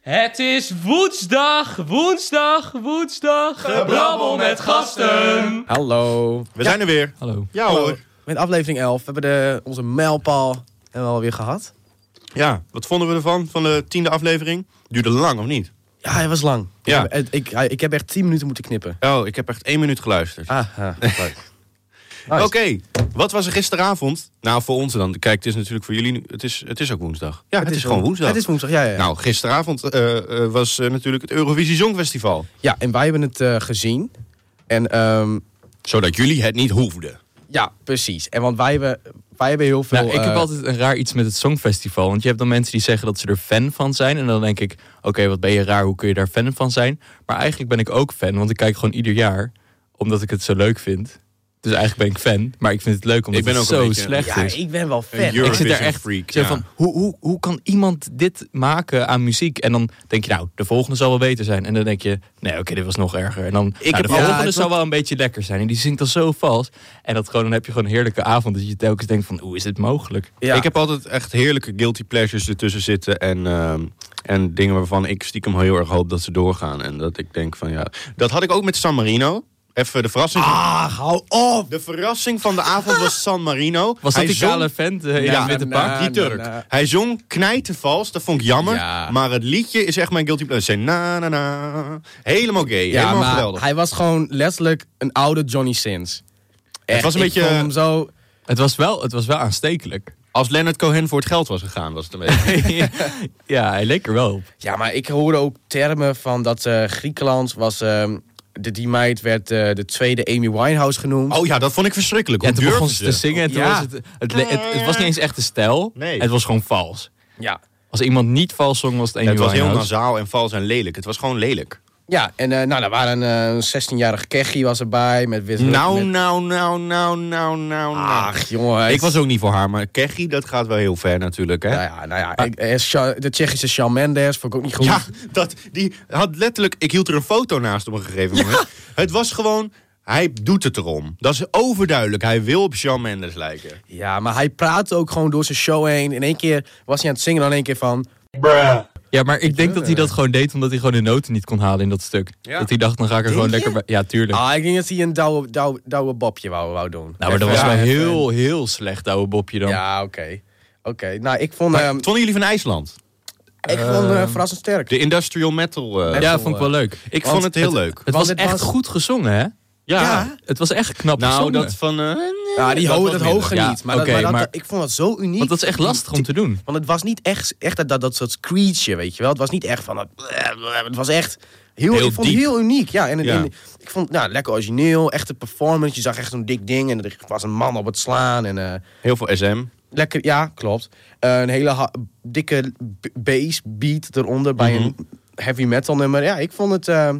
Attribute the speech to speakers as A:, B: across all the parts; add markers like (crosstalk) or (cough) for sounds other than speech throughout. A: Het is woensdag, woensdag, woensdag. Gebrabbel met gasten.
B: Hallo.
C: We zijn er weer.
A: Hallo.
C: Ja hoor.
B: Met aflevering 11 hebben we de, onze mijlpaal en we alweer gehad.
C: Ja, wat vonden we ervan, van de tiende aflevering? Duurde lang, of niet?
B: Ja, hij was lang.
C: Ja.
B: Ik, heb, het- ik, hij- ik heb echt 10 minuten moeten knippen.
C: Oh, ik heb echt één minuut geluisterd.
B: Ah, ah, leuk.
C: Oké,
B: Nice.
C: wat was er gisteravond? Nou, voor ons dan. Kijk, het is natuurlijk voor jullie nu... Het is, het is ook woensdag. Ja, het, is, gewoon
B: woen-
C: woensdag.
B: Het is woensdag, ja. Ja, ja.
C: Nou, gisteravond eh, eh, was eh, natuurlijk het Eurovisie Songfestival.
B: ja en wij hebben het eh, gezien. En ehm,
C: Zodat jullie het niet hoefden.
B: ja, precies. En want wij hebben, wij hebben heel veel...
D: Nou, ik heb
B: eh,
D: altijd een raar iets met het Songfestival. Want je hebt dan mensen die zeggen dat ze er fan van zijn. En dan denk ik, oké, wat ben je raar, hoe kun je daar fan van zijn? Maar eigenlijk ben ik ook fan, want ik kijk gewoon ieder jaar. Omdat ik het zo leuk vind. Dus eigenlijk ben ik fan. Maar ik vind het leuk omdat
C: Ik ben
D: het
C: ook een
D: zo
C: beetje-
D: slecht
B: Ja,
D: is.
B: ik ben wel
C: Een
B: fan.
C: Eurovision
D: Ik zit daar echt
C: freak,
D: zo
C: ja.
D: van, hoe, hoe, hoe kan iemand dit maken aan muziek? En dan denk je, nou, de volgende zal wel beter zijn. En dan denk je, nee, oké, dit was nog erger. En dan, nou,
C: heb
D: de
C: al-
D: volgende
B: Ja, het
D: zal wel een beetje lekker zijn. En die zingt dan zo vals. En dat gewoon, dan heb je gewoon een heerlijke avond. Dat je telkens denkt van, hoe is dit mogelijk?
B: Ja.
C: Ik heb altijd echt heerlijke guilty pleasures ertussen zitten. En, ehm, en dingen waarvan ik stiekem heel erg hoop dat ze doorgaan. En dat ik denk van ja. Dat had ik ook met San Marino. Even de verrassing.
B: Ah, hou op!
C: De verrassing van de avond was San Marino.
D: Was dat
C: Hij
D: die
C: zong-
D: kale vent eh, in
C: Ja,
D: het witte
B: nou,
D: pak?
C: Die Turk.
B: Na, na, na.
C: Hij zong knijtenvals, dat vond ik jammer.
D: Ja.
C: Maar het liedje is echt mijn guilty pleasure. Zijn na na na. Helemaal gay,
B: Ja,
C: helemaal
B: maar
C: geweldig.
B: hij was gewoon letterlijk een oude Johnny Sins. Echt,
C: was een
B: ik
C: beetje-
B: vond hem zo...
D: Het was wel, het was wel aanstekelijk. (laughs)
C: Als Leonard Cohen voor het geld was gegaan, was het een beetje.
D: ja, hij leek er wel op.
B: Ja, maar ik hoorde ook termen van dat eh, Griekenland was... ehm, de, die meid werd eh, de tweede Amy Winehouse genoemd.
C: Oh ja, dat vond ik verschrikkelijk.
D: Ja,
C: Hoe
D: toen begon
C: durfde
D: ze te
C: ze?
D: zingen en toen
B: Ja.
D: was het, het, le- het... het was niet eens echt de stijl.
C: Nee.
D: Het was gewoon vals.
B: Ja.
D: Als iemand niet vals zong, was het Amy
C: Het was heel
D: Winehouse.
C: nasaal en vals en lelijk. Het was gewoon lelijk.
B: Ja, en eh, nou, daar waren eh, een 16-jarige Keggy was erbij. Met, wit-
C: Nou,
B: met-
C: nou, nou, nou, nou, nou, nou.
B: Ach, jongen.
C: Ik was ook niet voor haar, maar Keggy, dat gaat wel heel ver natuurlijk, hè?
B: Nou ja, nou ja. ik- eh, Sha- de Tsjechische Shawn Mendes vond ik ook niet goed.
C: Ja, dat, die had letterlijk... Ik hield er een foto naast op een gegeven moment. Het was gewoon... Hij doet het erom. Dat is overduidelijk. Hij wil op Shawn Mendes lijken.
B: Ja, maar hij praatte ook gewoon door zijn show heen. In één keer was hij aan het zingen dan in één keer van...
D: Ja, maar ik denk dat hij dat gewoon deed omdat hij gewoon de noten niet kon halen in dat stuk.
C: Ja.
D: Dat hij dacht, dan ga ik er gewoon
B: je?
D: lekker bij... Ja, tuurlijk.
B: Ah, ik denk dat hij een douwe, douwe, douwe bobje wou, wou doen.
D: nou, maar dat was
B: Even-
D: wel
B: ja,
D: heel, heel slecht, oude Bobje dan.
B: even- Ja, oké. Oké, nou, ik vond, ehm,
C: Wat vonden jullie van IJsland?
B: ik vond eh, verrassend sterk.
C: De industrial metal... eh,
D: Ja,
B: Metal,
D: vond ik wel leuk.
C: ik
B: want
C: vond het heel leuk.
D: Het
B: Want
D: was
B: het
D: echt
B: was-
D: goed gezongen, hè?
C: Ja.
D: Het was echt knap
C: Nou,
D: gezongen.
C: dat van... eh,
B: Ja, die
C: dat
B: ho
C: was
B: dat
C: minder.
B: hoge
D: Ja,
B: niet. Maar,
D: oké,
B: dat, maar, dat-
D: maar-
B: ik vond dat zo uniek.
D: Want dat is echt lastig om te doen.
B: Want het was niet echt, echt dat, dat, dat soort screechje, weet je wel. Het was niet echt van... Dat, het was echt heel,
C: Heel
B: ik vond het
C: diep.
B: heel uniek. Ja, en, en-
C: Ja.
B: ik vond nou, lekker origineel, echte performance. Je zag echt zo'n dik ding en er was een man op het slaan. En, eh,
C: Heel veel SM.
B: lekker, ja, klopt. Eh, een hele ha- dikke b- bass beat eronder bij een heavy metal nummer. Ja, ik vond het... eh,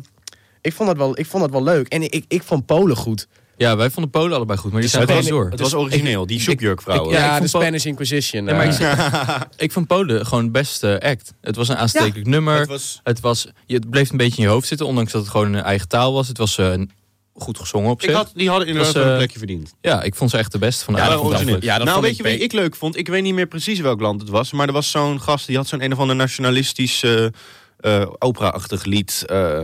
B: ik vond, dat wel, ik vond dat wel leuk. En ik, ik vond Polen goed.
D: Ja, wij vonden Polen allebei goed, maar die zijn
C: Dus het,
D: gewoon
C: was,
D: door.
C: het was origineel. Die soepjurkvrouwen.
D: ik-
B: Ja,
D: ja,
B: de
D: vond Pol-
B: Spanish Inquisition.
D: Ja, maar
B: eh,
D: ik, ik vond Polen gewoon best eh, act. Het was een aanstekelijk nummer.
C: het
D: Het,
C: was-
D: was... Het, je- het bleef een beetje in je hoofd zitten, ondanks dat het gewoon een eigen taal was. Het was eh, goed gezongen op
C: Ik
D: zich.
C: had, die hadden inderdaad
D: Was,
C: wel een
D: eh,
C: plekje verdiend.
D: Ja, ik vond ze echt de beste van de
C: Ja,
D: avond.
C: origineel.
D: eigenlijk.
B: Ja, dat
C: nou,
B: vond
C: weet
B: ik
C: je wie
B: be-
C: ik leuk vond? Ik weet niet meer precies welk land het was, maar er was zo'n gast die had zo'n een of ander nationalistisch eh, eh, opera-achtig lied. eh,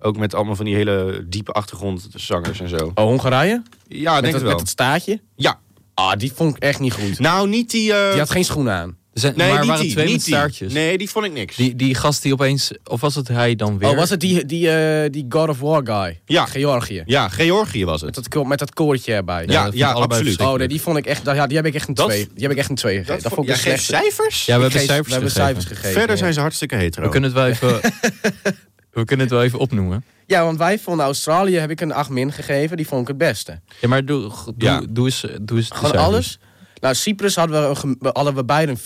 C: ook met allemaal van die hele diepe achtergrondzangers en zo.
B: oh, Hongarije?
C: Ja,
B: met,
C: denk
B: dat,
C: ik
B: met
C: wel.
B: dat staartje?
C: Ja.
B: Ah, die vond ik echt niet goed.
C: Nou, niet die. eh,
B: Die had geen schoenen aan.
D: Er zijn,
C: nee,
D: maar
C: niet
D: waren
C: die,
D: twee
C: niet
D: met
C: die.
D: staartjes.
C: Nee, die vond ik niks.
D: Die, die gast die opeens... Of was het hij dan weer?
B: Oh, was het die, die, eh, die God of War guy?
C: Ja.
B: Georgië.
C: Ja, Georgië was
B: Met
C: het.
B: dat, ko- met dat koortje erbij.
C: Ja,
D: dat vond
C: ja,
D: ik allebei
C: absoluut.
B: Oh, nee, die vond ik echt... Ja, die heb ik echt een
C: Dat-
B: twee. Die heb ik echt een twee gegeven. Dat, vond ik
C: ja,
B: de
C: geef
B: slechtste.
C: cijfers?
D: Ja, we hebben
B: Geef-
D: cijfers
B: we hebben
D: gegeven.
B: cijfers gegeven. ja.
C: Verder zijn ze hartstikke hetero.
D: We kunnen het wel
C: (laughs)
D: even... we kunnen het wel even opnoemen.
B: Ja, want wij vonden Australië heb ik een 8 min gegeven. Die vond ik het beste.
D: Ja, maar doe, doe,
C: Ja.
D: doe eens, doe eens de
B: Gewoon
D: cijfers.
B: alles. Nou, Cyprus hadden we, een gem- we- hadden we beide een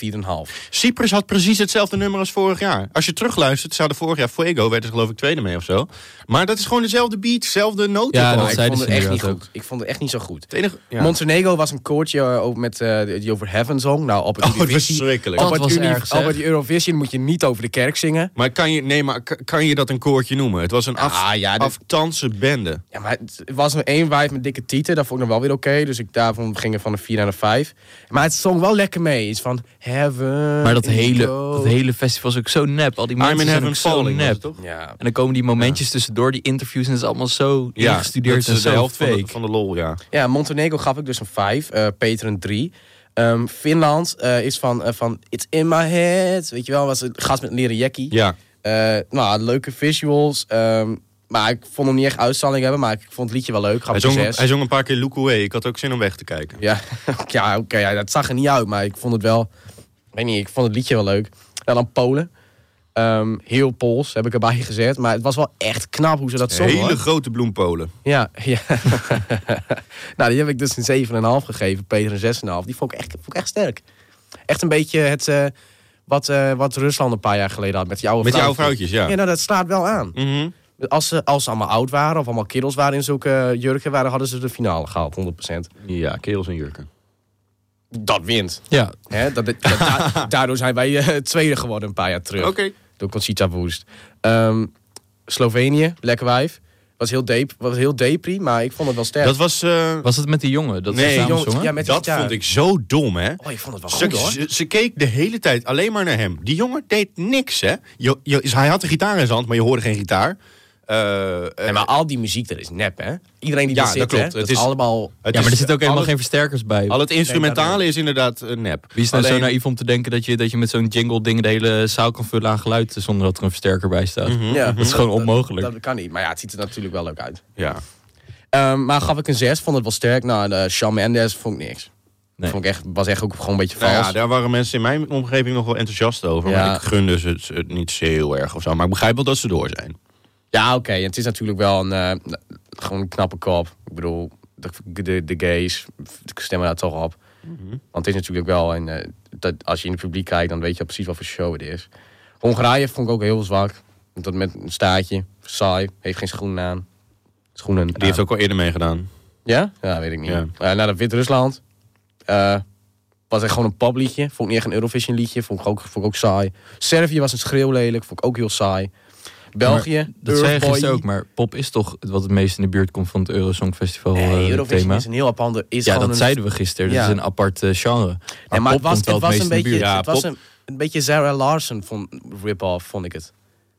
B: 4,5.
C: Cyprus had precies hetzelfde nummer als vorig jaar. Als je terugluistert, zouden vorig jaar Fuego werden ze geloof ik tweede mee of zo. Maar dat is gewoon dezelfde beat, dezelfde noten.
D: Ja,
C: gewoon.
D: dat
B: ik
D: zeiden
B: vond
D: ze
B: het echt niet
D: inderdaad
B: goed. Ik vond het echt niet zo goed.
C: Het enige- ja.
B: Montenegro was een koortje eh, ook met, eh, die over Heaven zong. Nou,
D: (laughs)
B: op het
C: Oh, het was
B: Eurovisie-
C: verschrikkelijk.
B: Op
D: Dat
B: het,
D: was
B: Uni-
D: erg, zeg.
B: op het Eurovision moet je niet over de kerk zingen.
C: Maar kan je, nee, maar k- kan je dat een koortje noemen? Het was een af,
B: Ah, ja, dit-
C: aftandse bende.
B: Ja, maar het was een één wijf met dikke tieten. Dat vond ik nog wel weer oké. Dus ik daarvan ging er van een 4 naar een 5. Maar het zong wel lekker mee. Iets van heaven.
D: Maar dat
B: is
D: hele,
B: gold.
D: dat hele festival is ook zo nep. Al die
C: I'm
D: mensen
C: in
D: zijn ook
C: heaven
D: zo
C: falling, was het
D: nep.
C: toch?
B: Ja.
D: En dan komen die momentjes tussendoor, die interviews, en het is allemaal zo ingestudeerd.
C: dat
D: en
C: is de
D: zo
C: helft van de,
D: fake.
C: van de lol, ja.
B: ja, Montenegro gaf ik dus een 5. Peter een 3. Ehm, Finland eh, is van, eh, van It's in my head. Weet je wel, was het gast met een leren jackie.
C: Ja,
B: Eh, nou, leuke visuals. ehm, maar ik vond hem niet echt uitstraling hebben, maar ik vond het liedje wel leuk. Gaf
C: hij
B: ik een
C: zong,
B: zes.
C: hij zong een paar keer Look Away. Ik had ook zin om weg te kijken.
B: Ja, (laughs) ja oké, ja, dat zag er niet uit, maar ik vond het wel... Ik weet niet, ik vond het liedje wel leuk. En dan Polen. Ehm, heel Pools heb ik erbij gezet, maar het was wel echt knap hoe ze dat zongen.
C: Hele
B: hoor.
C: grote bloempolen.
B: Ja, (laughs) ja. nou, die heb ik dus een 7,5 gegeven. Peter een 6,5. Die vond ik, echt, vond ik echt sterk. Echt een beetje het, eh, wat, eh, wat Rusland een paar jaar geleden had met jouw
C: Met jouw vrouwtjes, ja.
B: Ja, nou, dat slaat wel aan.
C: Mhm.
B: Als ze, als ze allemaal oud waren of allemaal kerels waren in zulke eh, jurken waren, hadden ze de finale gehaald, 100%.
C: Ja, kerels en jurken.
B: Dat wint.
D: Ja,
B: Hè? Dat, dat-
C: (laughs)
B: da- daardoor zijn wij eh, tweede geworden een paar jaar terug.
C: Oké.
B: Door Conchita Woest. Ehm, Slovenië, lekker wijf. Was heel, dep was heel depri, maar ik vond het wel sterk.
C: Dat was... eh,
D: was het met die jongen? Dat
C: Nee,
D: ze samen
B: jongen,
D: zongen?
B: ja, met die
C: dat
B: gitaar.
C: vond ik zo dom, hè.
B: Oh, ik vond het wel
C: Ze,
B: goed hoor.
C: ze, ze keek de hele tijd alleen maar naar hem. Die jongen deed niks, hè. Jo- jo- hij had een gitaar in zijn hand, maar je hoorde geen gitaar. Eh, eh,
B: Nee, maar al die muziek, dat is nep, hè? Iedereen die
C: Ja,
B: er zit,
C: dat klopt.
B: Hè?
C: Het
B: Dat
C: is-
B: is allemaal...
C: het
D: ja, maar
C: is-
D: er zitten ook helemaal
C: al het-
D: geen versterkers bij.
C: Al het instrumentale is inderdaad eh, nep.
D: Wie is nou
C: Alleen-
D: zo naïef om te denken dat je, dat je met zo'n jingle ding de hele zaal kan vullen aan geluid eh, zonder dat er een versterker bij staat?
C: Mhm. (laughs)
B: Ja,
D: Dat is gewoon onmogelijk.
B: Dat, kan niet, maar ja, het ziet er natuurlijk wel leuk uit.
C: Ja.
B: Ehm, maar gaf ik een 6, vond het wel sterk. Nou, en, eh Shawn Mendes vond ik niks.
D: Nee.
B: Vond ik echt, was echt ook gewoon een beetje
C: Nou
B: vals.
C: ja, daar waren mensen in mijn omgeving nog wel enthousiast over.
B: Ja.
C: Maar ik gunde ze het, het niet zo heel erg of zo. Maar ik begrijp wel dat ze door zijn.
B: Ja, oké. en Het is natuurlijk wel een, eh, gewoon een knappe kop. Ik bedoel, de, de, de gays ik stemmen daar toch op.
C: Mhm.
B: Want het is natuurlijk wel... Een, eh, dat, als je in het publiek kijkt, dan weet je al precies wat voor show het is. Hongarije vond ik ook heel zwak. Dat met een staartje. Saai. Heeft geen schoenen aan. Schoenen
C: Die
B: aan.
C: heeft ook al eerder meegedaan.
B: Ja? Ja, weet ik niet.
C: Ja.
B: Eh, naar de Wit-Rusland. Eh, was echt gewoon een pabliedje. Vond ik niet echt een Eurovision liedje. Vond ik ook, vond ik ook saai. Servië was een schreeuw lelijk. Vond ik ook heel saai. België.
D: dat zei je
B: Earthboy.
D: gisteren ook, maar pop is toch wat het meest in de buurt komt van het Eurosongfestival
B: Nee,
D: Festival
B: Eurovision
D: eh, thema?
B: is een heel apart... Is
D: Ja,
B: gewoon
D: dat
B: een,
D: zeiden we gisteren.
B: Ja.
D: Dat is een apart eh, genre. Maar,
B: Nee, maar
D: pop
B: het was,
D: komt wel
B: het
D: het,
B: was
D: meest
B: een
D: in de
B: beetje...
D: buurt.
C: Ja,
B: het was
C: pop.
B: een, een beetje Sarah Larson van rip-off, vond ik het.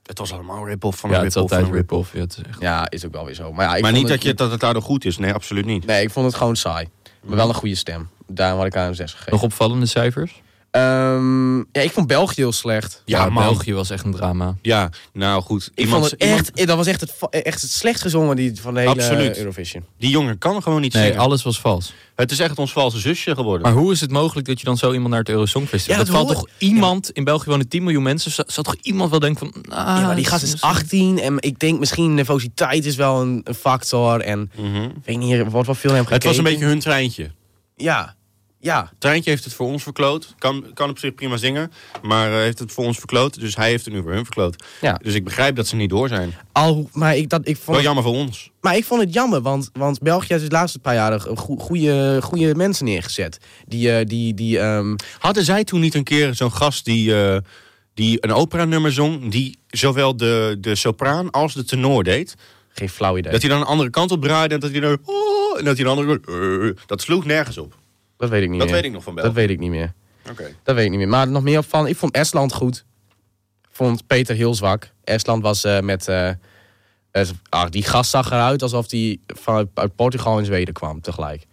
C: Het was allemaal rip-off van
D: Ja, het is altijd rip-off. Ja, het is echt-
B: Ja, is ook wel weer zo. Maar, ja, ik
C: Maar
B: vond
C: niet
B: het,
C: dat, je, dat het daardoor goed is. Nee, absoluut niet.
B: Nee, ik vond het gewoon saai. Maar wel een goede stem. Daarom had ik aan een 6 gegeven.
D: Nog opvallende cijfers?
B: Ehm, ja, ik vond België heel slecht.
C: Ja, man.
D: België was echt een drama.
C: Ja, nou goed.
B: Ik
C: Iemand-
B: vond het echt,
C: iemand-
B: dat was echt het, va- echt het slecht gezongen die, van de hele
C: Absoluut.
B: Eurovision.
C: die jongen kan gewoon niet
D: Nee,
C: zingen.
D: alles was vals.
C: Het is echt ons valse zusje geworden.
D: Maar hoe is het mogelijk dat je dan zo iemand naar het Eurosongfestival...
B: Ja,
D: dat
B: dat
D: valt
B: hoor-
D: toch iemand... In België wonen 10 miljoen mensen. Zou zou toch iemand wel denken van... Ah,
B: ja, maar die gast is 18 en ik denk misschien nervositeit is wel een, een factor. En
C: Mhm.
B: ik weet niet, er wordt wel veel naar hem
C: Het
B: gekeken.
C: was een beetje hun treintje.
B: Ja, ja.
C: Het treintje heeft het voor ons verkloot. Kan, kan op zich prima zingen. Maar eh, heeft het voor ons verkloot. Dus hij heeft het nu voor hun verkloot.
B: Ja.
C: Dus ik begrijp dat ze niet door zijn.
B: Al, maar, ik, dat, ik vond
C: Wel jammer voor ons.
B: Maar ik vond het jammer, want, want België heeft de laatste paar jaren goede, goede mensen neergezet. Die, eh, die, die, ehm,
C: Hadden zij toen niet een keer zo'n gast die, eh, die een opera-nummer zong. die zowel de, de sopraan als de tenor deed.
B: geen flauw idee.
C: Dat
B: Dat,
C: hij dan een andere kant op draaide. en dat hij dan. Oh, en dat hij een andere. eh, dat sloeg nergens op.
B: weet ik niet
C: Dat
B: meer.
C: weet ik nog van
B: dat
C: België.
B: weet ik niet meer.
C: Oké.
B: Dat weet ik niet meer. Maar nog meer van, ik vond Estland goed. Vond Peter heel zwak. Estland was eh, met... eh, eh, ah, die gast zag eruit alsof hij vanuit uit Portugal en Zweden kwam tegelijk.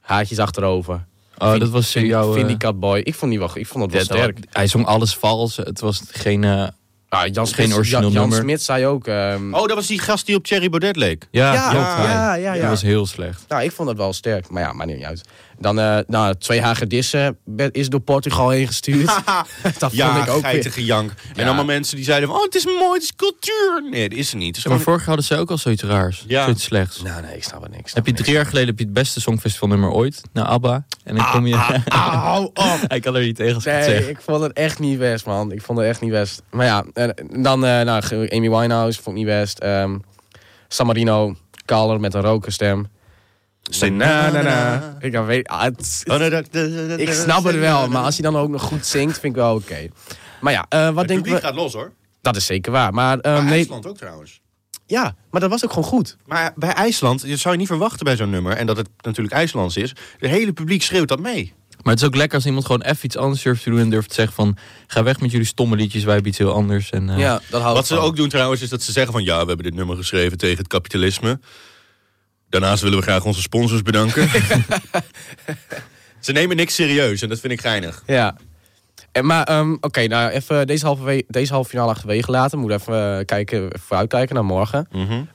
B: Haartjes achterover.
D: Oh, dat was eh, jouw... eh,
B: Vind die catboy. Ik vond die wel, ik vond dat wel
D: ja,
B: sterk.
D: dat- Hij zong alles vals. Het was geen... eh,
B: Ah, Jan, Smit,
D: Geen origineel
B: Jan, Jan
D: nummer.
B: Smit zei ook... ehm,
C: Oh, dat was die gast die op Thierry Baudet leek.
D: ja,
B: Ja,
D: klopt,
B: ja,
D: hij.
B: ja, ja.
D: Die was heel slecht.
B: Nou, ik vond het wel sterk. Maar ja, maakt niet uit. Dan eh, nou, twee hagedissen werd- is door Portugal heen
D: (laughs)
B: gestuurd. dat
C: Ja,
B: vond ik ook weer.
C: geitige jank. En
B: Ja.
C: allemaal mensen die zeiden van, oh, het is mooi, het is cultuur. Nee, het is er niet. Het is
D: maar
C: gewoon
D: vorig jaar hadden ze ook al zoiets raars.
C: Ja.
D: Zoiets slechts.
B: Nou, nee, ik snap het niks.
D: Heb je drie jaar geleden heb je het beste songfestivalnummer ooit? Naar ABBA. En dan kom je...
B: Ah, hou op!
D: (laughs) hij kan er niet tegen als ik het zeg.
B: Nee, ik vond het echt niet best, man. Ik vond het echt niet best. Maar ja, en dan eh, nou, Amy Winehouse vond ik niet best. Ehm, San Marino, Kaller met een rokerstem.
C: Say na, na, na.
B: Ik, kan weet, ah, het-
C: Oh, nee, dat- dat- dat-
B: ik
C: dat-
B: snap het
C: dat-
B: wel,
C: dat-
B: maar als hij dan ook nog goed zingt, vind ik wel oké. Maar ja, eh, wat
C: Het
B: denk
C: publiek
B: je?
C: gaat los, hoor.
B: Dat is zeker waar. Maar, ehm,
C: Bij
B: nee,
C: IJsland ook, trouwens.
B: ja, maar dat was ook gewoon goed.
C: Maar bij IJsland, dat zou je niet verwachten bij zo'n nummer... en dat het natuurlijk IJslands is... de hele publiek schreeuwt dat mee.
D: Maar het is ook lekker als iemand gewoon even iets anders durft te doen en durft te zeggen van... Ga weg met jullie stomme liedjes, wij hebben iets heel anders. En, eh,
B: Ja, dat houdt
C: Wat ze ook doen trouwens, is dat ze zeggen van... ja, we hebben dit nummer geschreven tegen het kapitalisme. Daarnaast willen we graag onze sponsors (laughs) bedanken. ze nemen niks serieus en dat vind ik geinig.
B: Ja. En, maar ehm, oké, nou even deze halve, we- deze halve finale achterwege laten. We moeten even eh, kijken, vooruitkijken naar morgen.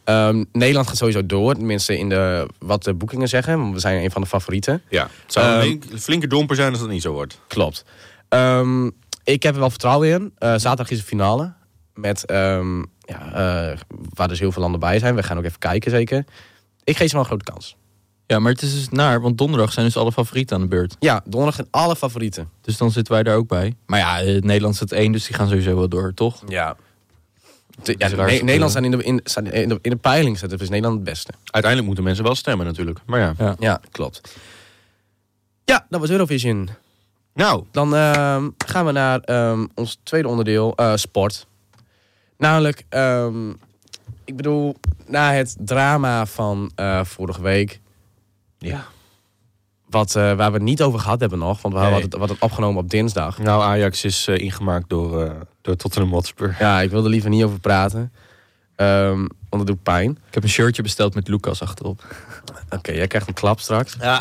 B: Ehm, Nederland gaat sowieso door, tenminste in de, wat de boekingen zeggen. want We zijn een van de favorieten.
C: Ja, het zou
B: Ehm,
C: een flink- flinke domper zijn als dat niet zo wordt.
B: Klopt. Ehm, ik heb er wel vertrouwen in. Eh, zaterdag is de finale. Met, ehm, ja, eh, waar dus heel veel landen bij zijn. We gaan ook even kijken zeker. Ik geef ze wel een grote kans.
D: ja, maar het is dus naar, want donderdag zijn dus alle favorieten aan de beurt.
B: Ja, donderdag zijn alle favorieten.
D: Dus dan zitten wij daar ook bij. Maar ja, eh, Nederland staat één, dus die gaan sowieso wel door, toch?
B: Ja. De, ja,
D: is raar.
B: Ne- Nederland staat in de, in, staat in de, in de peiling, staat, dus Nederland het beste.
C: Uiteindelijk moeten mensen wel stemmen natuurlijk. Maar ja.
D: Ja.
B: Ja, klopt. Ja, dat was Eurovision.
C: Nou,
B: Dan ehm, gaan we naar ehm, ons tweede onderdeel, eh, sport. Namelijk, ehm, ik bedoel, na het drama van eh, vorige week,
C: ja.
B: wat, eh, waar we het niet over gehad hebben nog, want we
C: Nee.
B: hadden het, we hadden het opgenomen op dinsdag.
C: nou Ajax is eh, ingemaakt door, eh, door Tottenham Hotspur.
B: Ja, ik wil er liever niet over praten, ehm, want dat doet pijn.
D: Ik heb een shirtje besteld met Lucas achterop.
B: Oké, jij krijgt een klap straks. (laughs)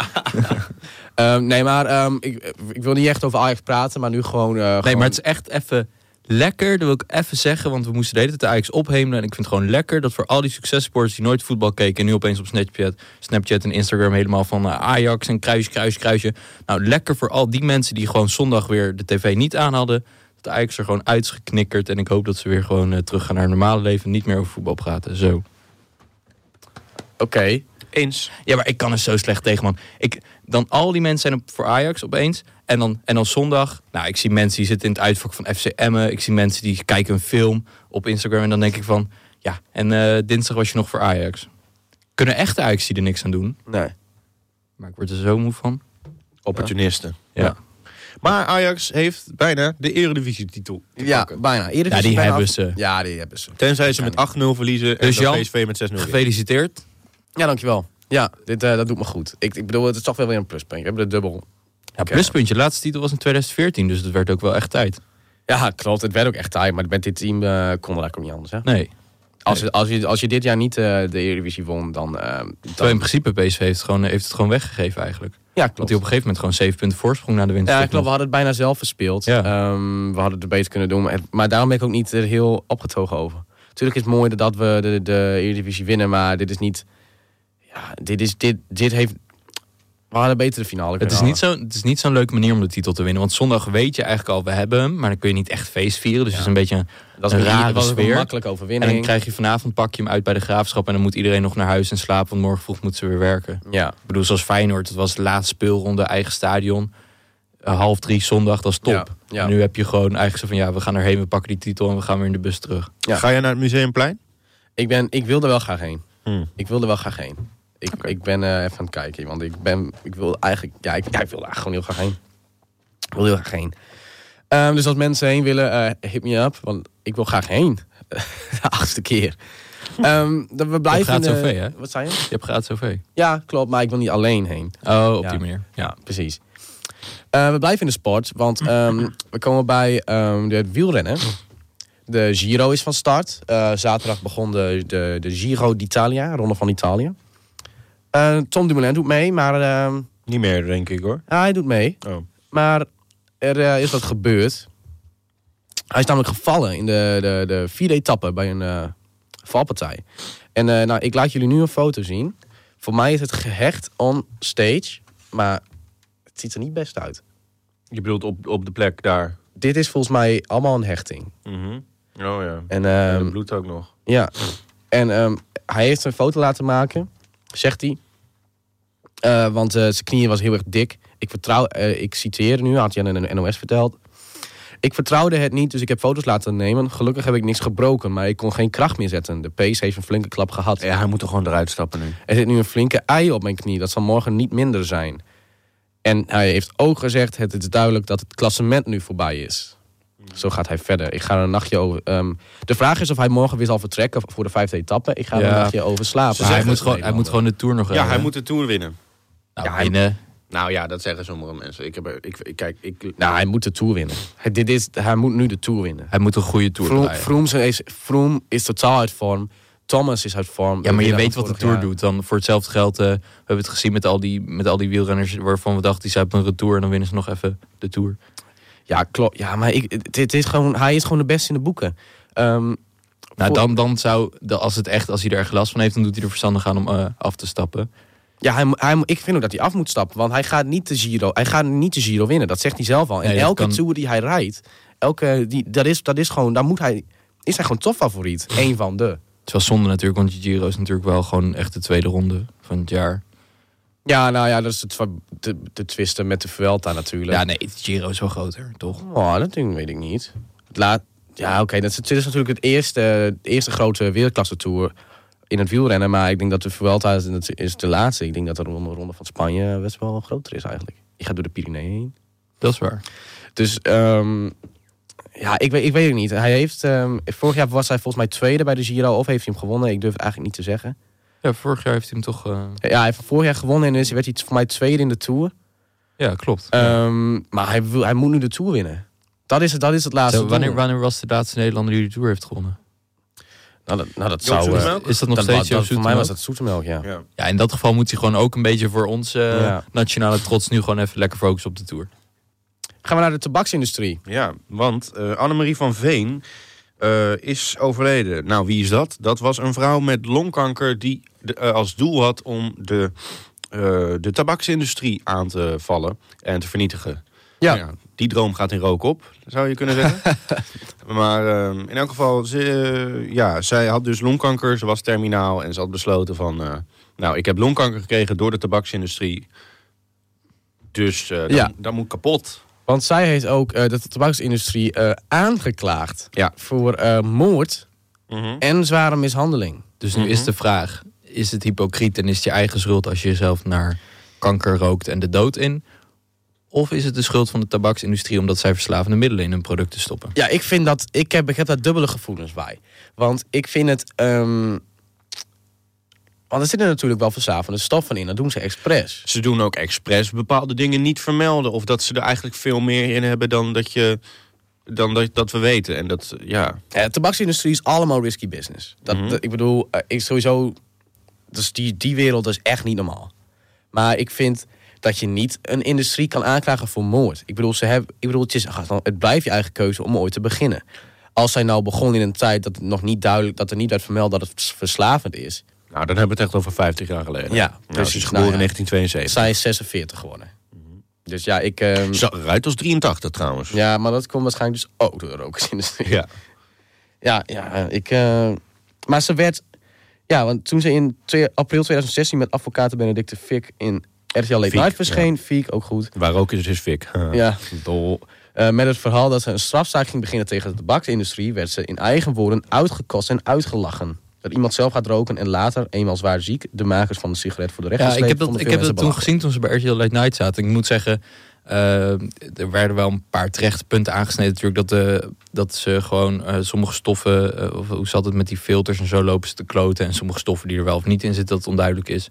B: Ehm, nee, maar ehm, ik, ik wil niet echt over Ajax praten, maar nu gewoon... eh,
D: Nee,
B: gewoon-
D: maar het is echt even lekker. Dat wil ik even zeggen, want we moesten de hele tijd de Ajax ophemelen. En ik vind het gewoon lekker dat voor al die successporters die nooit voetbal keken... en nu opeens op Snapchat, Snapchat en Instagram helemaal van eh, Ajax en kruis, kruis, kruisje. Nou, lekker voor al die mensen die gewoon zondag weer de tv niet aan hadden. Dat de Ajax er gewoon uit is geknikkerd. En ik hoop dat ze weer gewoon eh, terug gaan naar hun normale leven. en Niet meer over voetbal praten, zo.
B: Oké,
C: Eens.
D: Ja, maar ik kan er zo slecht tegen, man. Ik, dan al die mensen zijn op, voor Ajax opeens. En dan, en dan zondag, nou, ik zie mensen die zitten in het uitvak van FC Emmen. Ik zie mensen die kijken een film op Instagram. En dan denk ik van, ja, en eh, dinsdag was je nog voor Ajax. Kunnen echte Ajax die er niks aan doen.
B: nee.
D: Maar ik word er zo moe van.
C: Opportunisten.
D: Ja,
B: Ja.
C: Maar Ajax heeft bijna de eredivisie-titel. te
B: Ja,
C: pakken.
B: bijna. Eredivisie
D: Ja, die
B: is bijna
D: hebben
B: af-
D: ze.
B: Ja, die hebben ze.
C: Tenzij ze met 8-0 verliezen en
D: Dus
C: dan
D: Jan,
C: PSV met 6-0. winnen.
D: gefeliciteerd.
B: Ja, dankjewel. Ja, dit, eh, dat doet me goed. Ik, ik bedoel, het is toch wel weer een pluspunt. We hebben de dubbel. eh,
D: Ja, pluspuntje, laatste titel was in 2014, dus dat werd ook wel echt tijd.
B: Ja, klopt. Het werd ook echt taai, maar met dit team eh kon er eigenlijk ook niet anders. Hè?
D: Nee,
B: Als, je- als, je, als je dit jaar niet eh, de Eredivisie won, dan... eh, dan...
D: terwijl in principe PSV heeft, het gewoon, heeft het gewoon weggegeven eigenlijk.
B: Ja,
D: Want
B: klopt.
D: die op een gegeven moment gewoon 7 punten voorsprong naar de winst.
B: Ja, klopt. We hadden het bijna zelf verspeeld.
D: Ja.
B: Ehm, we hadden het beter kunnen doen. Maar, maar daarom ben ik ook niet er heel opgetogen over. Natuurlijk is het mooi dat we de, de Eredivisie winnen, maar dit is niet... Ja, dit, is, dit, dit heeft... We hadden betere finale
D: Het
B: kunnen
D: is,
B: halen.
D: niet zo, het is niet zo'n leuke manier om de titel te winnen. Want zondag weet je eigenlijk al, we hebben hem. Maar dan kun je niet echt feest vieren. Dus het is een beetje een,
B: Dat
D: een
B: is een,
D: rare
B: was ook een
D: sfeer.
B: makkelijke
D: En
B: overwinning.
D: dan krijg je vanavond, pak je hem uit bij de graafschap. En dan moet iedereen nog naar huis en slapen. Want morgen vroeg moeten ze weer werken.
B: Ja,
D: Ik bedoel, zoals Feyenoord. Dat was de laatste speelronde, eigen stadion. Eh, half drie zondag, dat is top.
B: Ja, ja.
D: En nu heb je gewoon eigenlijk zo van, ja, we gaan erheen. We pakken die titel en we gaan weer in de bus terug.
B: Ja.
C: Ga jij naar het Museumplein?
B: ik, ben, ik wil er wel graag heen.
C: Hmm.
B: Ik wil er wel graag heen. Ik, ik ben eh, even aan het kijken, want ik ben, ik wil eigenlijk, ja, ik, ja, ik wil er eigenlijk gewoon heel graag heen. Ik wil heel graag heen. Ehm, dus als mensen heen willen, eh, hit me up, want ik wil graag heen. (laughs) de achtste keer. Ehm, dat we blijven.
D: gaat
B: in de-
D: zo ver, hè?
B: Wat zei je?
D: Je hebt gratis OV.
B: Ja, klopt, maar ik wil niet alleen heen.
D: Oh, op
B: Ja.
D: die manier. Ja.
B: Precies. Eh, we blijven in de sport, want ehm, we komen bij ehm de wielrennen. De Giro is van start. Eh, zaterdag begon de, de, de Giro d'Italia, Ronde van Italië. Eh, Tom Dumoulin doet mee, maar ehm,
C: Niet meer, denk ik hoor.
B: ja, hij doet mee.
C: Oh.
B: Maar er eh, is wat gebeurd. Hij is namelijk gevallen in de, de, de vierde etappe bij een eh, valpartij. En eh, nou, ik laat jullie nu een foto zien. Voor mij is het gehecht on stage, maar het ziet er niet best uit.
C: Je bedoelt op, op de plek daar.
B: Dit is volgens mij allemaal een hechting.
C: Oh ja.
B: En, ehm,
C: En bloed ook nog.
B: Ja. En ehm, hij heeft een foto laten maken, zegt hij. Eh, want eh, zijn knieën was heel erg dik. Ik, vertrouw, eh, ik citeer nu, had hij aan een NOS verteld. Ik vertrouwde het niet, dus ik heb foto's laten nemen. Gelukkig heb ik niks gebroken, maar ik kon geen kracht meer zetten. De pace heeft een flinke klap gehad.
C: Ja, hij moet er gewoon eruit stappen nu.
B: Er zit nu een flinke ei op mijn knie. Dat zal morgen niet minder zijn. En hij heeft ook gezegd: Het is duidelijk dat het klassement nu voorbij is. Zo gaat hij verder. Ik ga er een nachtje over. ehm, de vraag is of hij morgen weer zal vertrekken voor de vijfde etappe. Ik ga er
D: Ja.
B: een nachtje over slapen.
D: Maar hij, moet gewoon, hij moet gewoon de Tour nog
C: Ja,
D: rijden.
C: hij moet de Tour winnen.
D: Nou,
B: Ja, hij-
D: winnen.
C: Nou ja, dat zeggen sommige mensen. Ik heb er, ik, ik kijk, ik,
B: Nou, hij moet de Tour winnen. Hij, dit is, hij moet nu de Tour winnen.
D: Hij moet een goede tour
B: Vroom,
D: draaien.
B: Vroom is, Vroom is totaal uit vorm. Thomas is uit vorm.
D: Ja, maar je weet wat de
B: Vorig
D: Tour
B: jaar.
D: doet. Dan voor hetzelfde geld, eh, we hebben het gezien met al, die, met al die wielrenners waarvan we dachten, die zijn op een retour en dan winnen ze nog even de Tour.
B: Ja, klopt. Ja, maar ik, het, het is gewoon, hij is gewoon de beste in de boeken. Ehm,
D: Nou,
B: Voor-
D: dan, dan zou, de- als, het echt, als hij er echt last van heeft, dan doet hij er verstandig aan om eh, af te stappen.
B: ja, hij, mo- hij, mo- ik vind ook dat hij af moet stappen. Want hij gaat niet de Giro, hij gaat niet de Giro winnen. Dat zegt hij zelf al. En
D: Nee, dat
B: elke
D: kan-
B: Tour die hij rijdt, elke, die, dat, is, dat is gewoon, daar moet hij, is hij gewoon (laughs) topfavoriet. Eén van de.
D: Het is wel zonde natuurlijk, want je Giro is natuurlijk wel gewoon echt de tweede ronde van het jaar.
B: Ja, nou ja, dat is het, van- te, te twisten met de Vuelta natuurlijk.
D: Ja, nee, het Giro is wel groter, toch?
B: Oh, dat ding weet ik niet. Het laat, ja, oké. dat is- dit is natuurlijk het eerste, de eerste grote wereldklasse tour in het wielrennen. Maar ik denk dat de Vuelta is, dat is de laatste. Ik denk dat de ronde, ronde van Spanje best wel groter is eigenlijk. Je gaat door de Pyreneeën heen.
D: Dat is waar.
B: Dus ehm, ja, ik weet, ik weet het niet. Hij heeft, ehm, vorig jaar was hij volgens mij tweede bij de Giro. Of heeft hij hem gewonnen? Ik durf het eigenlijk niet te zeggen.
D: Ja, vorig jaar heeft hij hem toch... eh,
B: Ja, hij heeft vorig jaar gewonnen en dus werd hij voor mij tweede in de Tour.
D: Ja, klopt.
B: Ehm, maar hij, wil, hij moet nu de Tour winnen. Dat is, het- dat is het laatste
D: Zo, wanneer,
B: doel.
D: wanneer was de laatste Nederlander die de Tour heeft gewonnen?
B: Nou, dat, nou, dat
C: Joop
B: zou... eh,
C: Zoetemelk?
D: Is dat nog
B: Dat
D: steeds
B: wa- dat-
D: Joost
B: Voor mij was
D: Zoetemelk?
B: dat zoetemelk, ja.
C: ja.
D: Ja, in dat geval moet hij gewoon ook een beetje voor ons eh,
B: Ja.
D: nationale trots nu gewoon even lekker focussen op de Tour.
B: Gaan we naar de tabaksindustrie.
C: Ja, want eh, Annemarie van Veen eh, is overleden. Nou, wie is dat? Dat was een vrouw met longkanker die de- eh, als doel had om de, eh, de tabaksindustrie aan te vallen en te vernietigen.
B: Ja.
C: Nou die droom gaat in rook op, zou je kunnen
B: (laughs)
C: zeggen. maar eh, in elk geval, ze, eh, ja, zij had dus longkanker, ze was terminaal en ze had besloten van... eh, nou, ik heb longkanker gekregen door de tabaksindustrie, dus eh, dat,
B: Ja.
C: dat moet kapot.
B: Want zij heeft ook eh, de tabaksindustrie eh, aangeklaagd
C: Ja. Mhm.
B: voor eh, moord en zware mishandeling.
D: Dus nu is de vraag, is het hypocriet en is het je eigen schuld als je jezelf naar kanker rookt en de dood in? Of is het de schuld van de tabaksindustrie omdat zij verslavende middelen in hun producten stoppen?
B: Ja, ik vind dat... Ik heb, ik heb daar dubbele gevoelens bij. Want ik vind het... ehm, want er zitten natuurlijk wel verslavende stoffen in. Dat doen ze expres.
C: Ze doen ook expres bepaalde dingen niet vermelden. Of dat ze er eigenlijk veel meer in hebben dan dat, je, dan dat, dat we weten. En dat, ja.
B: Ja, de tabaksindustrie is allemaal risky business. Dat, dat- ik bedoel, eh, ik sowieso. Dus die, die wereld is echt niet normaal. Maar ik vind dat je niet een industrie kan aanklagen voor moord. Ik bedoel, ze hebben, ik bedoel het, is, het blijft je eigen keuze om ooit te beginnen. Als zij nou begon in een tijd dat het nog niet duidelijk, dat er niet uit vermeld dat het vers- verslavend is.
C: Nou, dan hebben we het echt over 50 jaar geleden.
B: Ja,
C: Nou,
B: precies.
C: Ze is geboren
B: Nou ja.
C: in 1972.
B: Zij is 46 geworden. Dus ja, ik. ehm,
C: Zag eruit als 83 trouwens.
B: ja, maar dat komt waarschijnlijk dus ook door de rokersindustrie.
C: Ja.
B: (laughs) Ja, ja, ik. eh, maar ze werd. Ja, want toen ze in twee- april 2016 met advocaat Benedicte Fik in RTL Late
C: Fiek,
B: Night verscheen, Fiek ook goed.
C: Waar ook is, is (laughs) Fik.
B: Ja, dol. Eh, met het verhaal dat ze een strafzaak ging beginnen tegen de tabaksindustrie, werd ze in eigen woorden uitgekost en uitgelachen. Dat iemand zelf gaat roken en later, eenmaal zwaar ziek, de makers van de sigaret voor de rechter
D: Ja, ik
B: sleept,
D: heb dat,
B: vonden
D: ik
B: veel
D: heb dat toen
B: mensen
D: gezien toen ze bij RTL Late Night zaten. Ik moet zeggen, eh, er werden wel een paar terechte punten aangesneden natuurlijk. Dat, de, dat ze gewoon eh, sommige stoffen, eh, of hoe zat het met die filters en zo lopen ze te kloten. En sommige stoffen die er wel of niet in zitten, dat het onduidelijk is.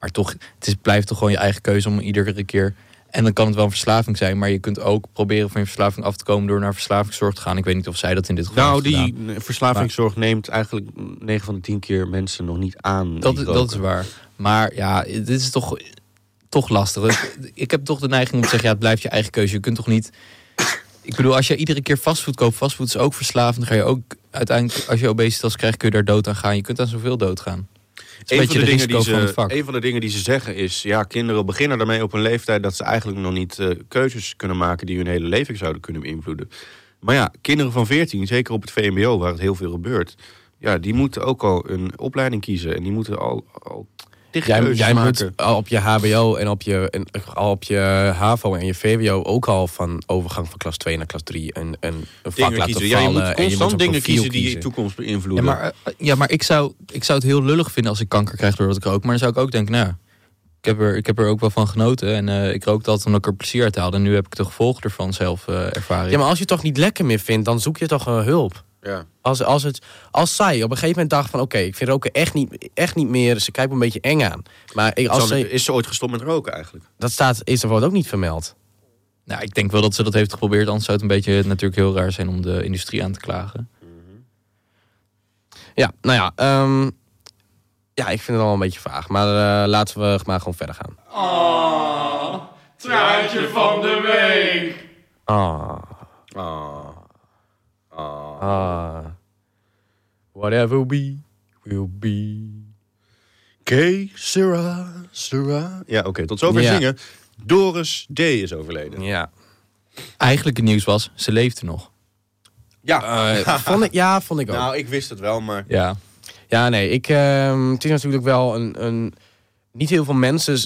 D: Maar toch, het is, blijft toch gewoon je eigen keuze om iedere keer... En dan kan het wel een verslaving zijn, maar je kunt ook proberen van je verslaving af te komen door naar verslavingszorg te gaan. Ik weet niet of zij dat in dit geval
C: Nou,
D: heeft gedaan.
C: die verslavingszorg neemt eigenlijk 9 van de 10 keer mensen nog niet aan.
D: Dat,
C: die
D: dat is
C: roken.
D: waar. Maar ja, dit is toch, toch lastig. Ik- ik heb toch de neiging om te zeggen, ja, het blijft je eigen keuze. Je kunt toch niet... Ik bedoel, als je iedere keer fastfood koopt, fastfood is ook verslavend. Dan ga je ook uiteindelijk, als je obesitas krijgt, kun je daar dood aan gaan. Je kunt aan zoveel dood gaan. Het is een
C: Een van,
D: beetje
C: de
D: de
C: dingen
D: risico
C: die
D: van het
C: ze,
D: vak.
C: een van de dingen die ze zeggen is... ja, kinderen beginnen daarmee op een leeftijd... dat ze eigenlijk nog niet eh, keuzes kunnen maken... die hun hele leven zouden kunnen beïnvloeden. Maar ja, kinderen van 14, zeker op het VMBO... waar het heel veel gebeurt... ja, die moeten ook al een opleiding kiezen. En die moeten al, al dicht
B: Jij,
C: keuzes
B: jij
C: maken.
B: moet al op je HBO en op je, en al op je HAVO en je VWO ook al van overgang van klas 2 naar klas 3 een, een, een vak
C: dingen
B: laten
C: kiezen. Ja,
B: vallen.
C: je moet
B: en
C: constant
B: een
C: dingen
B: profiel
C: kiezen die je toekomst
D: Ja,
C: beïnvloeden.
D: maar, eh, ja, maar ik, zou, ik zou het heel lullig vinden als ik kanker krijg doordat ik rook. Maar dan zou ik ook denken, nou, ik heb er, ik heb er ook wel van genoten. En eh, ik rookte altijd omdat ik er plezier uit haalde. En nu heb ik de gevolgen ervan zelf eh ervaren.
B: Ja, maar als je het toch niet lekker meer vindt, dan zoek je toch eh, hulp.
C: Ja.
B: Als, als, het, als zij op een gegeven moment dacht van... oké, ik vind roken echt niet, echt niet meer... ze kijkt me een beetje eng aan. Maar ik, als
C: Zal-
B: ze,
C: Is ze ooit gestopt met roken eigenlijk?
B: dat staat is er ook niet vermeld.
D: Nou, ik denk wel dat ze dat heeft geprobeerd. Anders zou het een beetje natuurlijk heel raar zijn om de industrie aan te klagen.
B: Ja, nou ja. ehm, ja, ik vind het allemaal een beetje vaag. Maar eh, laten we maar gewoon verder gaan.
A: Ah, Truitje van de week.
B: Ah,
C: Ah.
B: ah. Whatever we will be.
C: Gay, Sarah, Sarah. Ja, oké, tot zover
B: Ja.
C: zingen. Doris D. is overleden.
B: Ja.
D: Eigenlijk het nieuws was, ze leefde nog.
B: Eh,
C: Ja,
B: vond ik, ja, vond ik ook.
C: nou, ik wist het wel, maar...
D: Ja.
B: Ja, nee, ik, ehm, het is natuurlijk wel een, een... Niet heel veel mensen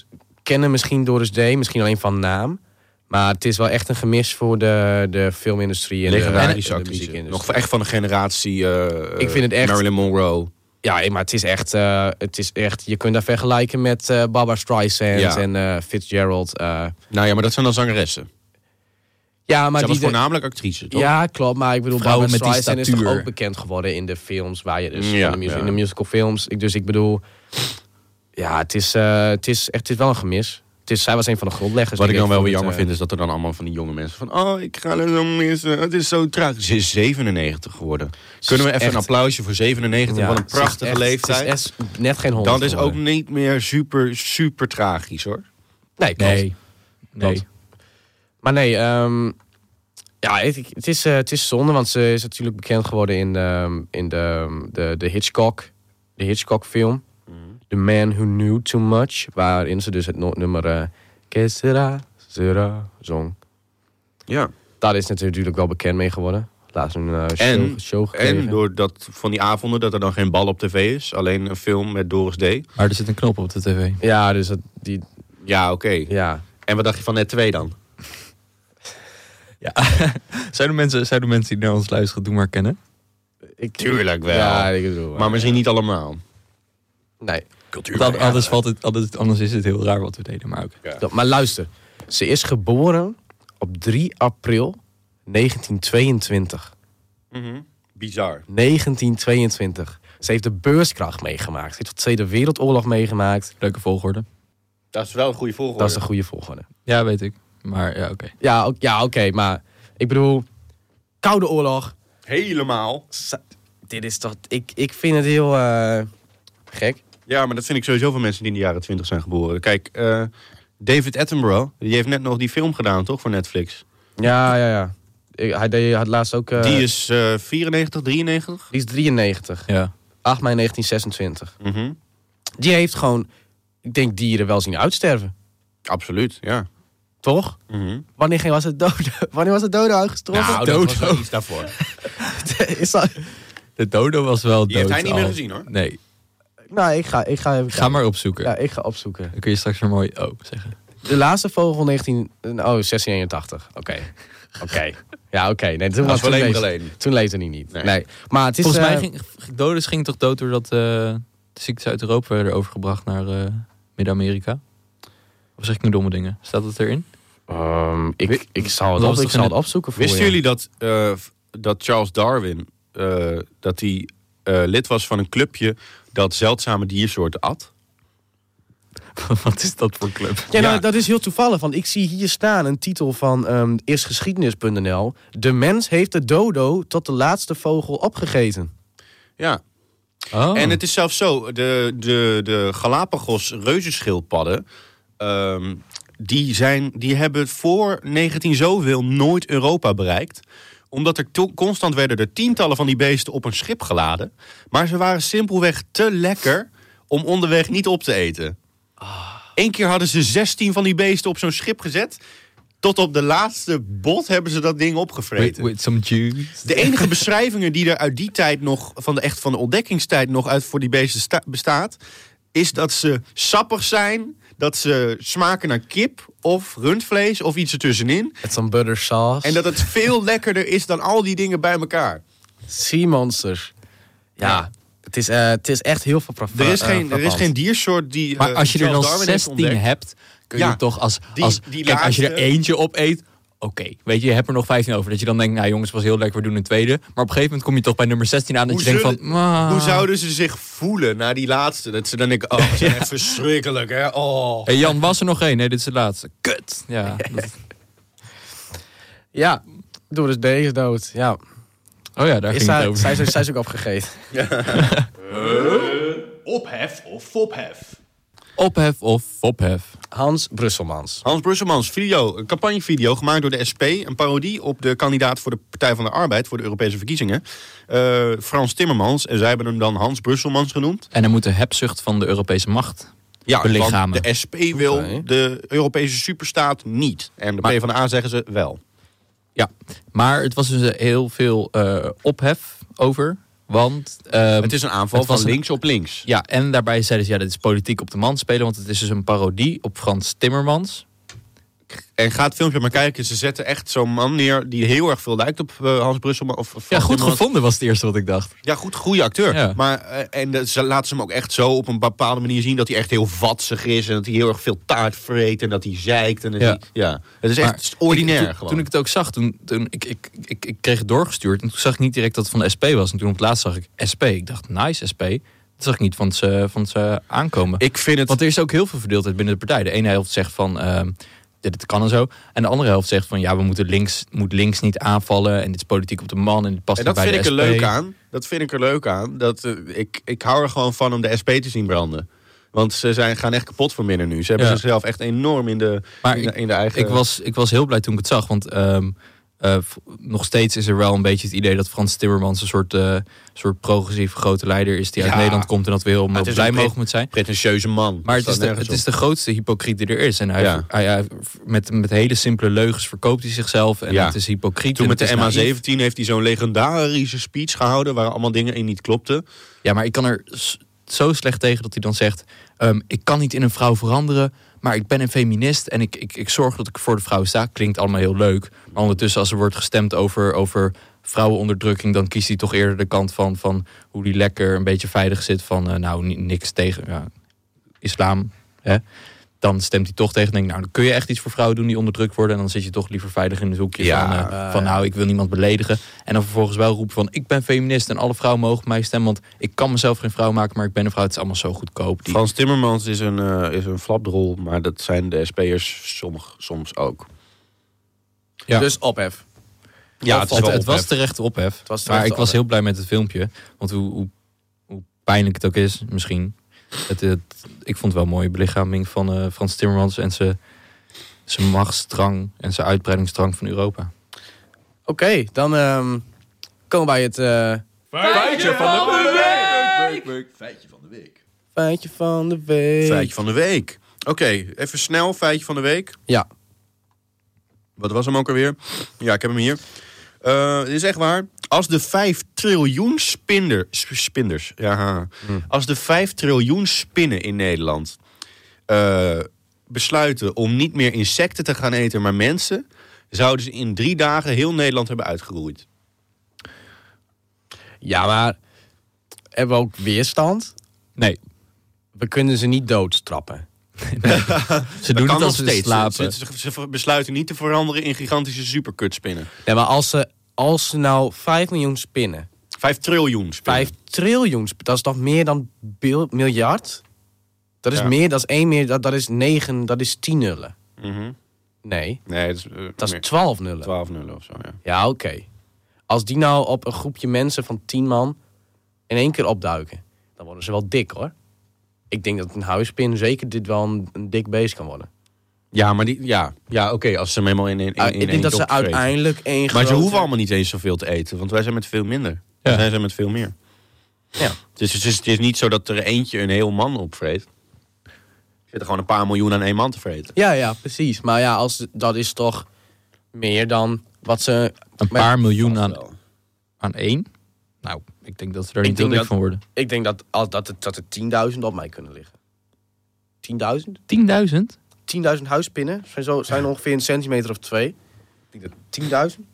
B: kennen misschien Doris D. Misschien alleen van naam. Maar het is wel echt een gemis voor de, de filmindustrie en de-
C: Legendarische
B: en de,
C: actrice.
B: muziekindustrie.
C: Nog echt van de generatie eh,
B: dus- Ik vind het echt-
C: Marilyn Monroe.
B: Ja, maar het is echt, eh, het is echt je kunt dat vergelijken met eh Barbra Streisand
C: Ja.
B: en eh, Fitzgerald. eh.
C: Nou ja, maar dat zijn dan zangeressen.
B: ja, maar
C: Zij was
B: die de-
C: voornamelijk actrice, toch?
B: ja, klopt. Maar ik bedoel,
D: Vrouwen
B: Barbra
D: met die
B: Streisand is toch
D: statuur.
B: ook bekend geworden in de films waar je dus
C: Ja,
B: in, de mus-
C: ja.
B: in de musicalfilms. Ik, dus ik bedoel, ja, het is, eh, het is echt, het is wel een gemis. Het is, zij was een van de grondleggers.
C: Dus Wat ik dan
B: denk
C: wel weer
B: van
C: jammer
B: het,
C: vind, is dat er dan allemaal van die jonge mensen van... Oh, ik ga er zo missen. Het is zo traag. Ze is 97 geworden. Kunnen we even
B: echt-
C: een applausje voor 97?
B: ja,
C: Wat een
B: het is
C: prachtige
B: echt-
C: leeftijd.
B: Het is echt net geen honderd.
C: dat is ook
B: geworden.
C: niet meer super, super tragisch, hoor.
B: nee, klopt.
D: Nee. Nee.
B: Klopt. Maar nee, ehm, ja, het, het, is, eh, het is zonde, want ze is natuurlijk bekend geworden in, ehm, in de, de, de Hitchcock, de Hitchcock film. The Man Who Knew Too Much, waarin ze dus het no- nummer eh Que sera, sera zong.
C: Ja.
B: Daar is ze natuurlijk wel bekend mee geworden. Laatst een eh, show,
C: En-
B: show gekregen.
C: En door dat, van die avonden dat er dan geen bal op tv is. Alleen een film met Doris D.
D: Maar er zit een knop op de tv.
B: Ja, dus dat, die,
C: Ja, oké.
B: ja.
C: En wat dacht je van net twee dan?
D: Zouden mensen, zouden mensen die naar ons luisteren doen maar kennen?
B: Ik,
C: Tuurlijk wel.
B: Ja, ik bedoel. eh,
C: Maar misschien niet allemaal.
B: nee.
D: Want an- anders, valt het, anders, anders is het heel raar wat we deden, maar ook.
B: Dat- maar luister, ze is geboren op 3 april 1922.
C: Bizar.
B: 1922. Ze heeft de beurskracht meegemaakt. Ze heeft de Tweede Wereldoorlog meegemaakt.
D: Leuke volgorde.
C: Dat is wel een goede volgorde.
B: Dat is de goede volgorde.
D: Ja, weet ik. Maar ja, oké.
B: Ja, ook- ja oké, maar ik bedoel, Koude Oorlog.
C: Helemaal.
B: Ze- dit is toch. Ik, ik vind het heel eh, gek.
C: Ja, maar dat vind ik sowieso van mensen die in de jaren twintig zijn geboren. Kijk, eh, David Attenborough, die heeft net nog die film gedaan, toch? Voor Netflix.
B: Ja, ja, ja. Ik- hij deed, had laatst ook. eh,
C: die is eh 94, 93.
B: die is 93.
D: Ja.
B: 8 mei 1926.
C: Mhm.
B: Die heeft gewoon, ik denk, dieren wel zien uitsterven.
C: Absoluut, ja.
B: Toch?
C: Mhm.
B: Wanneer ging, was het dodo? (laughs) Wanneer was het dodo uitgestorven?
C: Nou, dat was wel iets (laughs) daarvoor.
B: (laughs) Is dat...
D: De dodo was wel
C: Die
D: dood
C: heeft hij niet meer
D: al.
C: gezien, hoor.
D: Nee.
B: Nou, ik ga, ik ga even
D: Ga
B: kijken.
D: maar opzoeken.
B: Ja, ik ga opzoeken.
D: Dan kun je straks weer mooi oh zeggen.
B: De laatste vogel 19... Oh, 1681. Oké. Oké. Ja, oké. Nee, toen
C: Dat is
B: toen
C: wel even
B: leefde-
C: geleden.
B: Toen leefde hij niet. Nee.
C: Nee.
B: Maar het is...
D: Volgens mij
B: eh,
D: ging Dodos ging toch dood doordat eh, de ziektes uit Europa werden overgebracht naar eh, Midden-Amerika? Of zeg ik nu domme dingen? Staat dat erin? (laughs)
B: ehm, ik, ik zal het,
D: Dat
B: op,
D: was
B: ik
D: toch
B: zal
D: in-
B: het opzoeken voor
C: Wisten
B: je.
C: jullie dat, eh, f- dat Charles Darwin eh, dat hij eh, lid was van een clubje dat zeldzame diersoorten at?
D: Wat is dat voor club?
B: Ja, nou,
C: Ja.
B: dat is heel toevallig. Want ik zie hier staan een titel van ehm eerstgeschiedenis.nl. De mens heeft de dodo tot de laatste vogel opgegeten.
C: Ja,
D: Oh.
C: en het is zelfs zo: de, de, de Galapagos reuzenschildpadden. ehm, die, zijn, die hebben voor 19 zoveel nooit Europa bereikt. Omdat er to- constant werden er tientallen van die beesten op een schip geladen. Maar ze waren simpelweg te lekker om onderweg niet op te eten. Eén keer hadden ze 16 van die beesten op zo'n schip gezet. Tot op de laatste bot hebben ze dat ding
D: with,
C: opgevreten.
D: with some juice.
C: De enige beschrijvingen die er uit die tijd nog, van de, echt van de ontdekkingstijd nog uit voor die beesten sta- bestaat, is dat ze sappig zijn, dat ze smaken naar kip of rundvlees of iets ertussenin.
B: Met zo'n butter sauce.
C: En dat het veel lekkerder is dan al die dingen bij elkaar.
B: Sea Monsters. Ja, Het, is, eh, het is echt heel veel
C: Er is
B: eh,
C: geen, er is geen diersoort die.
D: Maar
C: eh,
D: als je er
C: Charles
D: dan
C: Darwin heeft
D: 16
C: ontdekt.
D: hebt, kun je
C: Ja,
D: toch als...
C: die-
D: als
C: die
D: kijk, als je er
C: laatste-
D: eentje op eet, oké. Weet je, je hebt er nog 15 over. Dat je dan denkt, nou jongens, was heel leuk, we doen een tweede. Maar op een gegeven moment kom je toch bij nummer 16 aan. Dat
C: Hoe
D: je denkt van,
C: zullen-
D: "Ah."
C: Hoe zouden ze zich voelen na die laatste? Dat ze dan denken, oh, ze
D: (laughs)
C: zijn echt verschrikkelijk, hè? Oh.
D: Hey Jan, was er nog één? Nee, dit is de laatste.
C: (laughs)
D: Kut. Ja, dat- oh
B: Ja, door dus deze dood. Ja.
D: Oh ja, daar
B: Is
D: ging het
B: zij,
D: over.
B: zij, zij, zij is ook opgegeten.
A: Ophef of fophef.
D: Ophef of ophef.
B: Hans Brusselmans.
C: Hans Brusselmans, video, een campagnevideo gemaakt door de SP. Een parodie op de kandidaat voor de Partij van de Arbeid voor de Europese verkiezingen. eh, Frans Timmermans. En zij hebben hem dan Hans Brusselmans genoemd.
D: En dan moet de hebzucht van de Europese macht.
C: Ja,
D: Belichamen.
C: want de SP wil
B: Oké.
C: de Europese superstaat niet. En de
D: Maar-
C: PvdA zeggen ze wel.
D: Ja, maar het was dus heel veel eh, ophef over. Want ehm,
C: Het is een aanval
D: het was
C: van
D: een-
C: links op links.
D: Ja, en daarbij zeiden ze, ja, dit is politiek op de man spelen, want het is dus een parodie op Frans Timmermans.
C: En ga het filmpje maar kijken. Ze zetten echt zo'n man neer die heel erg veel lijkt op eh, Hans Brusselmans. Of, of
D: Ja,
C: Frans
D: goed
C: Timmermans.
D: gevonden was het eerste wat ik dacht.
C: Ja, goed, goede acteur.
D: Ja.
C: Maar, eh, en eh, ze laten ze hem ook echt zo op een bepaalde manier zien... dat hij echt heel vatsig is en dat hij heel erg veel taart vreet... en dat hij zeikt. En dat
D: Ja.
C: Hij, ja. Het is
D: Maar
C: echt ordinair
D: ik- toen-
C: gewoon.
D: Toen ik het ook zag, toen, toen ik, ik, ik, ik kreeg het doorgestuurd. En toen zag ik niet direct dat het van de SP was. En toen op het laatst zag ik SP. Ik dacht, nice SP. Dat zag ik niet van ze, van ze aankomen.
C: ik vind het...
D: Want er is ook heel veel verdeeldheid binnen de partij. De ene helft zegt van, ehm, dit dit kan en zo. En de andere helft zegt van, ja, we moeten links, moet links niet aanvallen. En dit is politiek op de man. En dit past
C: En
D: niet
C: dat
D: bij
C: vind ik
D: de
C: er
D: SP.
C: leuk aan. Dat vind ik er leuk aan. Dat, eh, ik, ik hou er gewoon van om de SP te zien branden. Want ze zijn, gaan echt kapot van binnen nu. Ze hebben
D: Ja.
C: zichzelf echt enorm in de,
D: Maar
C: in de,
D: ik-
C: in de eigen...
D: Ik was, ik was heel blij toen ik het zag. Want ehm, eh, v- nog steeds is er wel een beetje het idee dat Frans Timmermans een soort, eh, soort progressieve grote leider is die uit
C: Ja.
D: Nederland komt en dat we heel
C: het is
D: blij
C: een
D: mogen
C: pre-
D: moeten zijn.
C: pretentieuze man.
D: Maar
C: Dat
D: het is,
C: staat
D: de,
C: nergens
D: het is
C: op.
D: de grootste hypocriet die er is. En hij,
C: Ja.
D: hij, hij- met, met hele simpele leugens verkoopt hij zichzelf. En
C: Ja.
D: het is hypocriet.
C: Toen
D: en
C: met de
D: het is naïef.
C: MA17 heeft hij zo'n legendarische speech gehouden... waar allemaal dingen in niet klopten.
D: Ja, maar ik kan er s- zo slecht tegen dat hij dan zegt... ehm, ik kan niet in een vrouw veranderen, maar ik ben een feminist... en ik, ik, ik zorg dat ik voor de vrouw sta. Klinkt allemaal heel leuk. Maar ondertussen als er wordt gestemd over, over vrouwenonderdrukking... dan kiest hij toch eerder de kant van, van hoe die lekker een beetje veilig zit... van eh, nou, ni- niks tegen ja, islam, hè? Dan stemt hij toch tegen en denkt, nou, dan kun je echt iets voor vrouwen doen die onderdrukt worden. En dan zit je toch liever veilig in het hoekje
C: Ja,
D: van, eh, van, nou, ik wil niemand beledigen. En dan vervolgens wel roepen van, ik ben feminist en alle vrouwen mogen op mij stemmen. Want ik kan mezelf geen vrouw maken, maar ik ben een vrouw. Het is allemaal zo goedkoop. Die...
C: Frans Timmermans is een, eh, is een flapdrol, maar dat zijn de SP'ers sommig, soms ook.
D: Ja.
B: Dus ophef.
C: Ja,
D: het, het was terecht ophef.
B: was terecht
D: maar ik was
B: ophef.
D: heel blij met het filmpje. Want hoe, hoe, hoe pijnlijk het ook is, misschien. Het, het- ik vond het wel een mooie belichaming van eh, Frans Timmermans en zijn, zijn machtsdrang en zijn uitbreidingsdrang van Europa.
B: Oké, dan ehm, komen we bij het eh,
A: Feitje van de week.
B: feitje van de week.
C: Feitje van de week. Oké, even snel, feitje van de week.
B: Ja,
C: Wat was hem ook alweer? Ja, ik heb hem hier. Eh, Dit is echt waar. Als de 5 triljoen spinder, sp- spinders. Ja,
D: Hm.
C: Als de 5 triljoen spinnen in Nederland eh, besluiten om niet meer insecten te gaan eten, maar mensen, zouden ze in drie dagen heel Nederland hebben uitgeroeid.
B: ja maar hebben we ook weerstand?
D: Nee,
B: We kunnen ze niet doodstrappen.
D: Ze doen
C: kan
D: het
C: nog
D: als ze
C: steeds.
D: slapen.
C: Ze, ze- ze besluiten niet te veranderen in gigantische superkutspinnen.
B: Nee, maar als ze, als ze nou 5 miljoen spinnen,
C: Vijf triljoen spinnen.
B: 5 triljoen, sp- dat is toch meer dan bil- miljard? Dat is
C: Ja.
B: meer, dat is 1 meer, dat, dat is 9, dat is 10 nullen.
C: Mhm.
B: Nee,
C: Nee, dat is, eh,
B: dat is
C: meer.
B: 12 nullen.
C: 12 nullen of zo, ja.
B: Ja, oké. Als die nou op een groepje mensen van 10 man in één keer opduiken, dan worden ze wel dik hoor. Ik denk dat een huispin zeker dit wel een, een dik beest kan worden.
C: Ja, maar die, ja, ja oké, als ze hem helemaal in in, in,
B: Ah,
C: in
B: ik denk dat ze uiteindelijk één
C: Maar ze
B: grote-
C: hoeven allemaal niet eens zoveel te eten, want wij zijn met veel minder.
D: Ja.
C: Zij zijn met veel meer.
B: Ja.
C: Dus het is, het is niet zo dat er eentje een heel man opvreet. Er zitten gewoon een paar miljoen aan één man te vreten.
B: Ja, ja, precies. Maar ja, als, dat is toch meer dan wat ze...
D: Een
B: Maar-
D: paar miljoen aan,
C: wel.
D: aan één? Nou, ik denk dat ze er
B: Ik
D: niet heel
B: denk
D: dik
B: dat-
D: van worden.
B: Ik denk dat, als- dat, het, dat er 10.000 op mij kunnen liggen. 10.000?
D: 10.000?
B: 10.000 huispinnen zijn, zo, zijn ongeveer een centimeter of twee. Ik denk dat 10.000?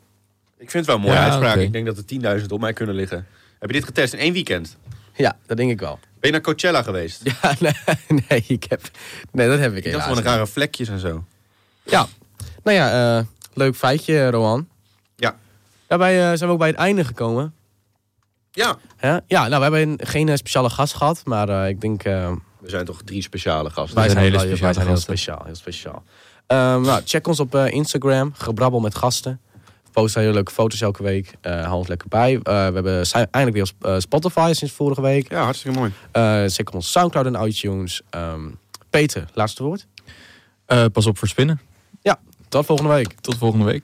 C: Ik vind het wel een mooie
D: Ja,
C: uitspraak.
D: oké.
C: Ik denk dat er 10.000 op mij kunnen liggen. Heb je dit getest in één weekend?
B: Ja, dat denk ik wel.
C: Ben je naar Coachella geweest?
B: Ja, (laughs) nee, nee, ik heb, nee dat heb ik
C: Ik dacht
B: helaas
C: gewoon
B: niet.
C: rare vlekjes en zo.
B: Ja, nou ja, eh, leuk feitje, Roan.
C: Ja.
B: Daarbij eh, zijn we ook bij het einde gekomen.
C: Ja.
B: Hè? Ja, nou, we hebben een- geen eh, speciale gast gehad, maar eh, ik denk... eh,
C: We zijn toch drie speciale gasten.
B: wij
D: zijn
B: zijn
D: hele
B: wel- wij
D: speciale
B: zijn heel
D: gasten.
B: speciaal, heel speciaal. Ehm, nou, check ons op eh, Instagram, Gebrabbel met Gasten. We posten hele leuke foto's elke week. Eh hou ons lekker bij. Eh, we hebben si- eindelijk weer op, eh, Spotify sinds vorige week.
C: Ja, hartstikke mooi.
B: Eh check ons Soundcloud en iTunes. Ehm, Peter, laatste woord.
D: Eh, pas op voor spinnen.
B: Ja, tot volgende week.
D: Tot volgende week.